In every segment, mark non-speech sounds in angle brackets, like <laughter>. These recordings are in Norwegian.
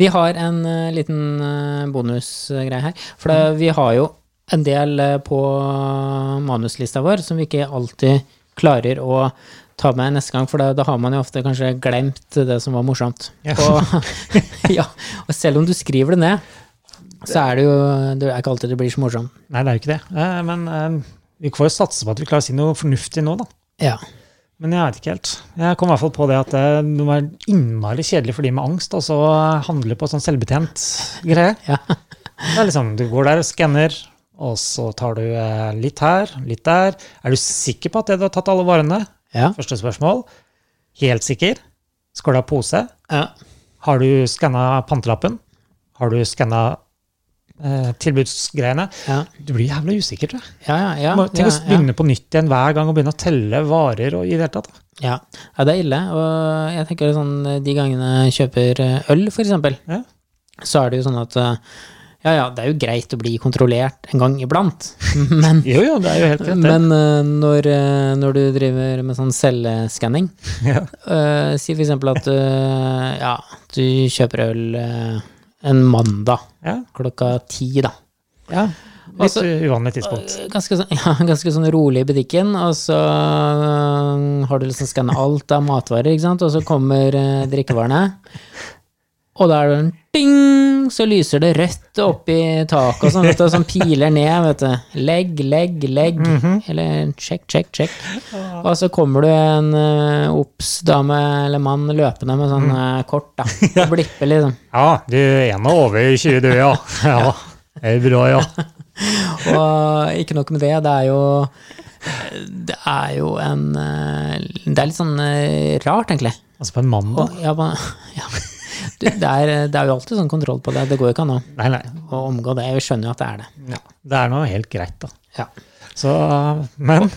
Vi har en eh, liten eh, bonusgreie her. For det, vi har jo en del eh, på manuslista vår som vi ikke alltid klarer å ta med neste gang, for da, da har man jo ofte kanskje glemt det som var morsomt. <laughs> Ja. Og, ja, og selv om du skriver det ned, så er det jo Det er ikke alltid det blir så morsomt. <laughs> Nei, det er jo ikke det. Eh, Men eh, vi får jo satse på at vi klarer å si noe fornuftig nå, da. Ja. Men jeg vet ikke helt. Jeg kom i hvert fall på det at eh, det må være innmari kjedelig for de med angst og så handle på sånn selvbetjent greie. Ja. Det er liksom, Du går der og skanner, og så tar du eh, litt her, litt der. Er du sikker på at det du har tatt alle varene? Ja. Første spørsmål. Helt sikker. Skal du ha pose? ja. Har du skanna pantelappen? Har du skanna eh, tilbudsgreiene? Ja, Du blir jævla usikker, tror jeg. ja, ja, ja, Må- Tenk ja, å begynne på nytt igjen hver gang og begynne å telle varer og i det hele tatt. da. ja. ja, det er ille. Og jeg tenker sånn de gangene jeg kjøper eh, øl, for eksempel, Ja. så er det jo sånn at eh, ja, ja, det er jo greit å bli kontrollert en gang <laughs> iblant, men, Jo, jo, det er jo helt rett. det. men eh, når, eh, når du driver med sånn selvskanning, <laughs> Ja. eh, si for eksempel at eh, ja, du kjøper øl eh, en mandag Ja. klokka ti, da. Ja. Litt Altså- uvanlig tidspunkt. Ganske sånn, <laughs> ja, ganske sånn rolig i butikken, og så øh, har du liksom skanna alt av matvarer, ikke sant, og så kommer øh, drikkevarene. Og da er det en ding, så lyser det rødt opp i taket og sånn, vet du, og sånn piler ned, vet du. Legg, legg, legg. Eller check, check, check. Og så kommer du en øh, obs dame eller mann løpende med sånn øh, kort, da. Og blipper, liksom. Ja, du er nå over 20, du, <laughs> ja. ja. Det er bra, ja. Og ikke nok med det, det er jo Det er jo en eh, Det er litt sånn eh, rart, egentlig. Altså på en mandag? Og, ja, man, ja. Du, det, er, det er jo alltid sånn kontroll på det. Det går jo ikke an å, Nei, nei. å omgå det. Vi skjønner jo at det er det. Ja. Det er nå helt greit, da. Ja. Så, men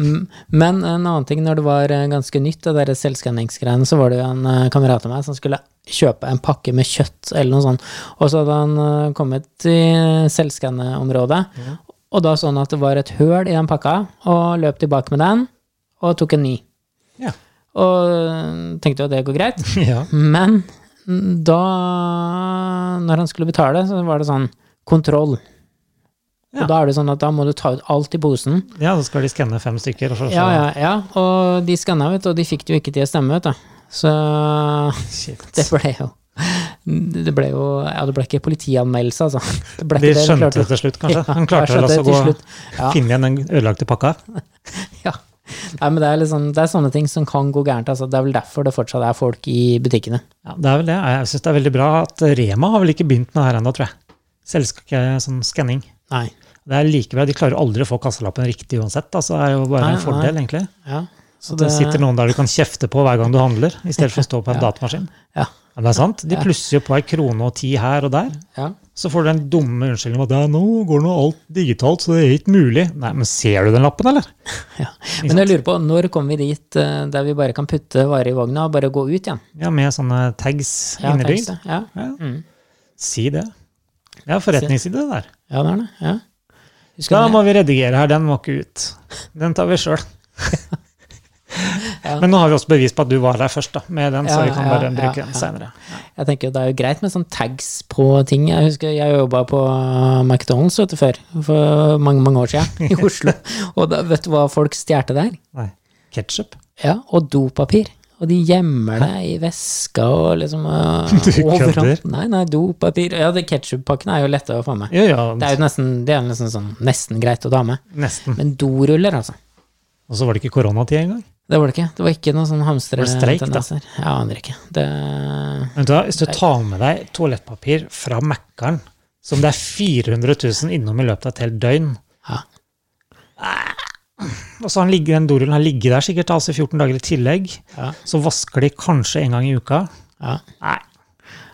Mm, Men en annen ting, når det var eh, ganske nytt, det der selvskanningsgreiene, så var det jo en eh, kamerat av meg som skulle kjøpe en pakke med kjøtt eller noe sånt, og så hadde han eh, kommet til selvskanneområdet, og da så han at det var et høl i den pakka, og løp tilbake med den, og tok en ny. Ja. Og eh, tenkte jo at det går greit, ja. men mm, da Når han skulle betale, så var det sånn kontroll. Ja. Og da er det sånn at da må du ta ut alt i posen, ja, så skal de skanne fem stykker, og så, så ja, ja, ja. Og de skanna, vet du, og de fikk det jo ikke til å stemme, vet du. Så <laughs> Shit. det ble jo Det ble jo Ja, det ble ikke politianmeldelse, altså. Det ble De ikke det, skjønte klarte- <laughs> det til slutt, kanskje? Ja, Han klarte jeg vel skjønte altså å det gå til slutt. Ja. finne igjen den ødelagte pakka? Ja. Nei, men det er, liksom, det er sånne ting som kan gå gærent. Altså. Det er vel derfor det fortsatt er folk i butikkene. Ja, det er vel det. Jeg syns det er veldig bra at Rema har vel ikke begynt med det her ennå, tror jeg. Selskap, sånn skanning. Nei. Det er like bra. De klarer aldri å få kassalappen riktig uansett. Altså, det er jo bare Nei, en fordel, egentlig. Ja. Så det sitter noen der du kan kjefte på hver gang du handler, i stedet for å stå på en datamaskin. <laughs> Ja. Ja, det er sant. De plusser jo på ei krone og ti her og der. ja. Så får du den dumme unnskyldningen om at «Ja, nå går nå alt digitalt, så det er ikke mulig. Nei, men ser du den lappen, eller? ja. Men jeg lurer på, når kommer vi dit eh, der vi bare kan putte varer i vogna og bare gå ut igjen? Ja, med sånne tags Ja, innebygd. tenk det. Ja. Ja. Si det. Det er forretningsside, det der. ja, det er det. Ja. Husker Da du det? må vi redigere her. Den må ikke ut. Den tar vi sjøl. Ja. Men nå har vi også bevis på at du var der først, da, med den, så Ja, vi kan ja, bare ja, bruke ja. den seinere. Jeg tenker jo det er jo greit med sånn tags på ting. Jeg husker jeg jobba på eh, McDonald's vet du, før, for mange mange år siden, <laughs> i Oslo. Og da, vet du hva folk stjal der? Nei. Ketchup? Ja, Og dopapir. Og de gjemmer det i veska og liksom uh, <laughs> Du kødder. Nei, nei, dopapir. Ja, ketsjuppakken er jo lette å få med. Ja, ja, Det er jo nesten, det er nesten, sånn, nesten greit å ta med. nesten. Men doruller, altså. Og så var det ikke koronatid engang. Det var det ikke. Det var ikke noen sånn Var det streik, da? hamstretendenser. Jeg aner ikke. Det Vet du hva, Hvis du tar med deg toalettpapir fra Mækkern, som det er 400 000 innom i løpet av et helt døgn Ah. Ja. Og så har den ligget, den dorullen har ligget der sikkert altså i 14 dager i tillegg. Ja. Så vasker de kanskje en gang i uka. ja. Nei.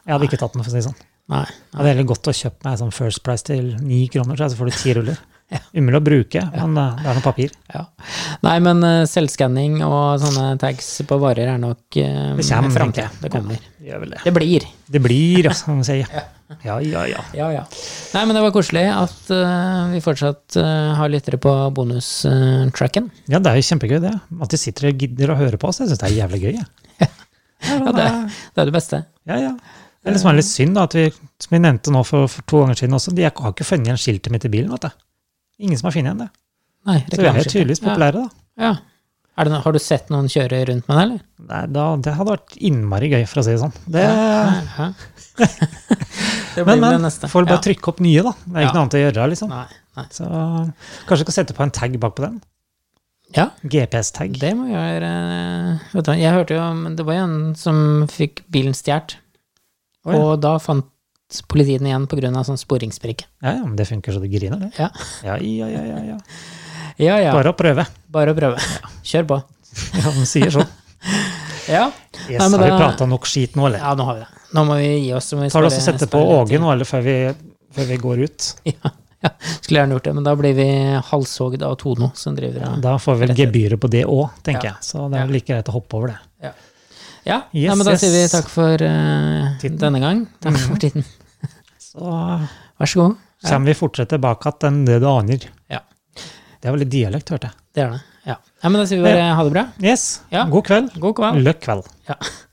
Jeg hadde ikke tatt den, for å si det sånn. Nei. Jeg hadde heller gått og kjøpt meg sånn First Price til 9 kroner, så jeg- så får du ti ruller. <laughs> Umulig å bruke, men eh, det er noe papir. Ja. Nei, men eh, selvskanning og sånne tags på varer er nok uh, Det kommer, tenker framtida. jeg. Det kommer. Det gjør vel det. Det blir. Det blir, altså, som man sier. Ja, ja, ja. Ja, ja. Nei, men det var koselig at eh, vi fortsatt eh, har lyttere på bonustracken. Ja, det er jo kjempegøy, det. At de sitter <laughs> og gidder å høre på oss, jeg syns det er jævlig gøy. jeg. ja, det, det er det beste. Ja, ja. Det er liksom litt synd da, at vi, som vi nevnte nå for, for to ganger siden også, de har ikke funnet igjen skiltet mitt i bilen. vet du. Ingen som har funnet igjen det. Nei, Så vi er jo reklameskiltet. tydeligvis populære, da. Ja. ja. Er det, no- har du sett noen kjøre rundt med det, eller? Nei, da. Det hadde vært innmari gøy, for å si det sånn. Det, Hæ? <laughs> <laughs> det blir men, vel det men. neste. Får du bare ja. trykke opp nye, da. Det er Ja. ikke noe annet å gjøre, liksom. Nei, nei. Så kanskje du kan sette på en tag bak på den? Ja, GPS-tag. det må jeg gjøre. eh, Vet du, hva, jeg hørte jo om Det var jo en som fikk bilen stjålet. Å, ja. Og da fant politiet den igjen pga. sånn sporingsbrikke. Ja, ja, men det funker så det griner, det. Ja. Ja, ja, ja, ja, ja. Ja ja, bare, Bare å prøve. <laughs> å prøve. Kjør på. Ja, han sier sånn. Ja. Yes, Nei, men har vi da- prata nok skit nå, eller? ja, nå har vi det. Nå må vi gi oss. så må vi Tar du spare- også sette på spare litt Åge tid. nå, eller før vi, før vi går ut? Ja, ja, skulle gjerne gjort det, men da blir vi halshogd av Tono som driver og Da får vi vel gebyret på det òg, tenker Ja. jeg. Så det er vel like greit å hoppe over det. Ja, Yes, Mm. nei, men da sier vi yes. takk for eh, Titten. denne gang. Takk for tiden. Så kommer Vær så god. Ja. vi fortere tilbake igjen enn det du aner. Ja. Det var litt dialekt, hørte jeg. Det er det. Ja. Nei, men da sier vi bare ha det bra. Yes, Ja. god kveld. God kveld. Løkk kveld. Ja.